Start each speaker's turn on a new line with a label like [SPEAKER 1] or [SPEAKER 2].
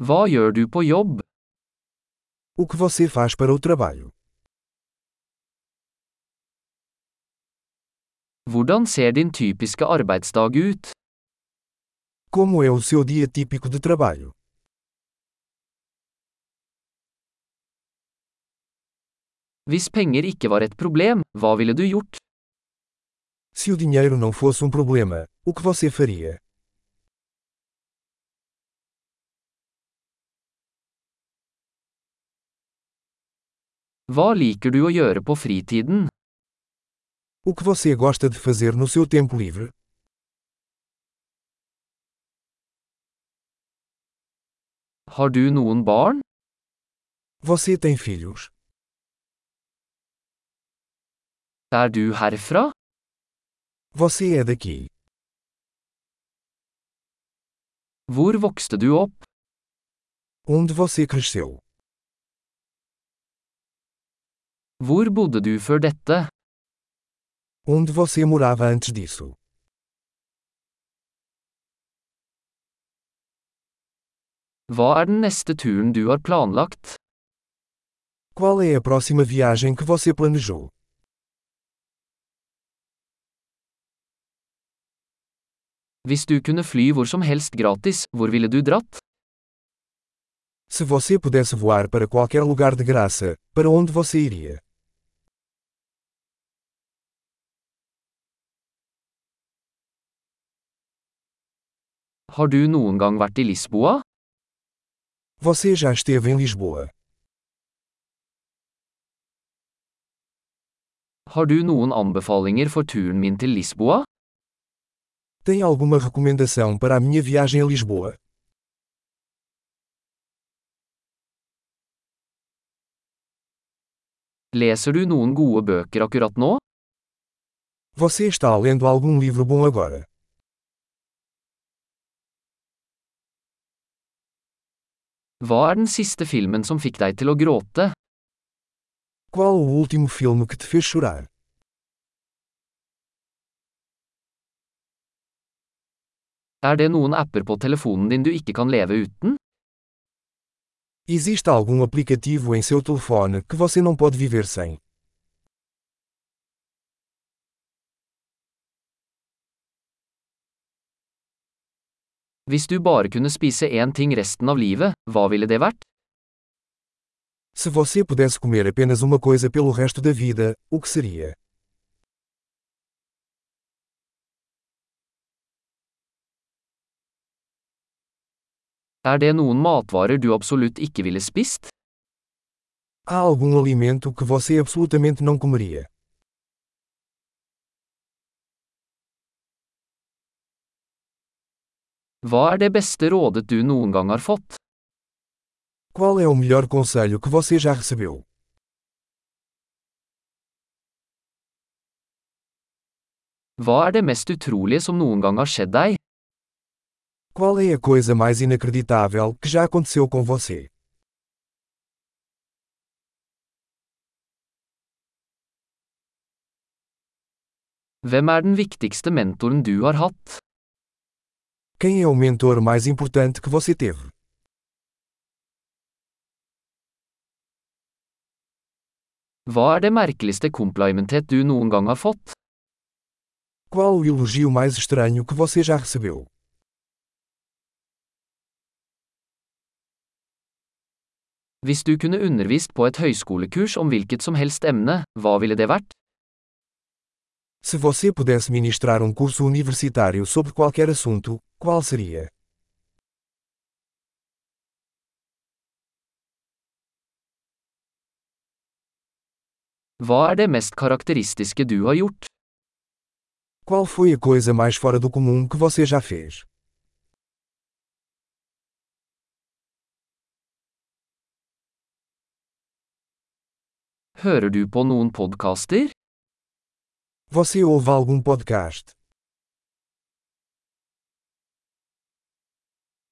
[SPEAKER 1] Hva gjør du på jobb?
[SPEAKER 2] O que você faz para o trabalho?
[SPEAKER 1] Hvordan ser din typiske arbeidsdag ut?
[SPEAKER 2] Como é o seu dia típico de trabalho?
[SPEAKER 1] Hvis penger ikke var et problem, hva ville du gjort?
[SPEAKER 2] Se o dinheiro não fosse um problema, o que você faria?
[SPEAKER 1] Hva liker du å gjøre på fritiden?
[SPEAKER 2] O que você gosta de fazer no seu tempo livre?
[SPEAKER 1] Har du noen barn?
[SPEAKER 2] Você tem filhos?
[SPEAKER 1] Er du herfra?
[SPEAKER 2] Você é daqui?
[SPEAKER 1] Hvor vokste du opp?
[SPEAKER 2] Onde você cresceu?
[SPEAKER 1] Hvor bodde du før dette?
[SPEAKER 2] Onde você morava antes disso?
[SPEAKER 1] Hva er den neste turen du har planlagt?
[SPEAKER 2] Qual é a próxima viagem que você planejou?
[SPEAKER 1] Hvis du kunne fly hvor som helst gratis, hvor ville du dratt?
[SPEAKER 2] Se você pudesse voar para qualquer lugar de graça, para onde você iria?
[SPEAKER 1] Har du noen gang vært i Lisboa?
[SPEAKER 2] Você já esteve em Lisboa?
[SPEAKER 1] Har du noen anbefalinger for turen min til Lisboa?
[SPEAKER 2] Tem alguma recomendação para a minha viagem a Lisboa?
[SPEAKER 1] Leser du noen gode bøker akkurat nå?
[SPEAKER 2] Você está lendo algum livro bom agora?
[SPEAKER 1] Hva er den siste filmen som fikk deg til å gråte?
[SPEAKER 2] Qual o último filme que te fez chorar?
[SPEAKER 1] Er det noen apper på telefonen din du ikke kan leve uten?
[SPEAKER 2] Existe algum aplicativo em seu telefone que você não pode viver sem?
[SPEAKER 1] Hvis du bare kunne spise én ting resten av livet, hva ville det vært?
[SPEAKER 2] Se você pudesse comer apenas uma coisa pelo resto da vida, o que seria?
[SPEAKER 1] Er det noen matvarer du absolutt ikke ville spist?
[SPEAKER 2] Há algum alimento que você absolutamente não comeria?
[SPEAKER 1] Hva er det beste rådet du noen gang har fått?
[SPEAKER 2] Qual é o melhor conselho que você já recebeu?
[SPEAKER 1] Hva er det mest utrolige som noen gang har skjedd deg?
[SPEAKER 2] Qual é a coisa mais inacreditável que já aconteceu com você?
[SPEAKER 1] Hvem er den viktigste mentoren du har hatt?
[SPEAKER 2] Quem é o mentor mais importante que você teve?
[SPEAKER 1] Hva er det merkeligste komplimentet du noen gang har fått?
[SPEAKER 2] Qual o elogio mais estranho que você já recebeu?
[SPEAKER 1] Hvis du kunne undervist på et høyskolekurs om hvilket som helst emne, hva ville det vært?
[SPEAKER 2] Se você pudesse ministrar um curso universitário sobre qualquer assunto, qual seria?
[SPEAKER 1] Hva er det mest karakteristiske du har gjort?
[SPEAKER 2] Qual foi a coisa mais fora do comum que você já fez?
[SPEAKER 1] Hører du på noen podkaster?
[SPEAKER 2] Você ouve algum podcast?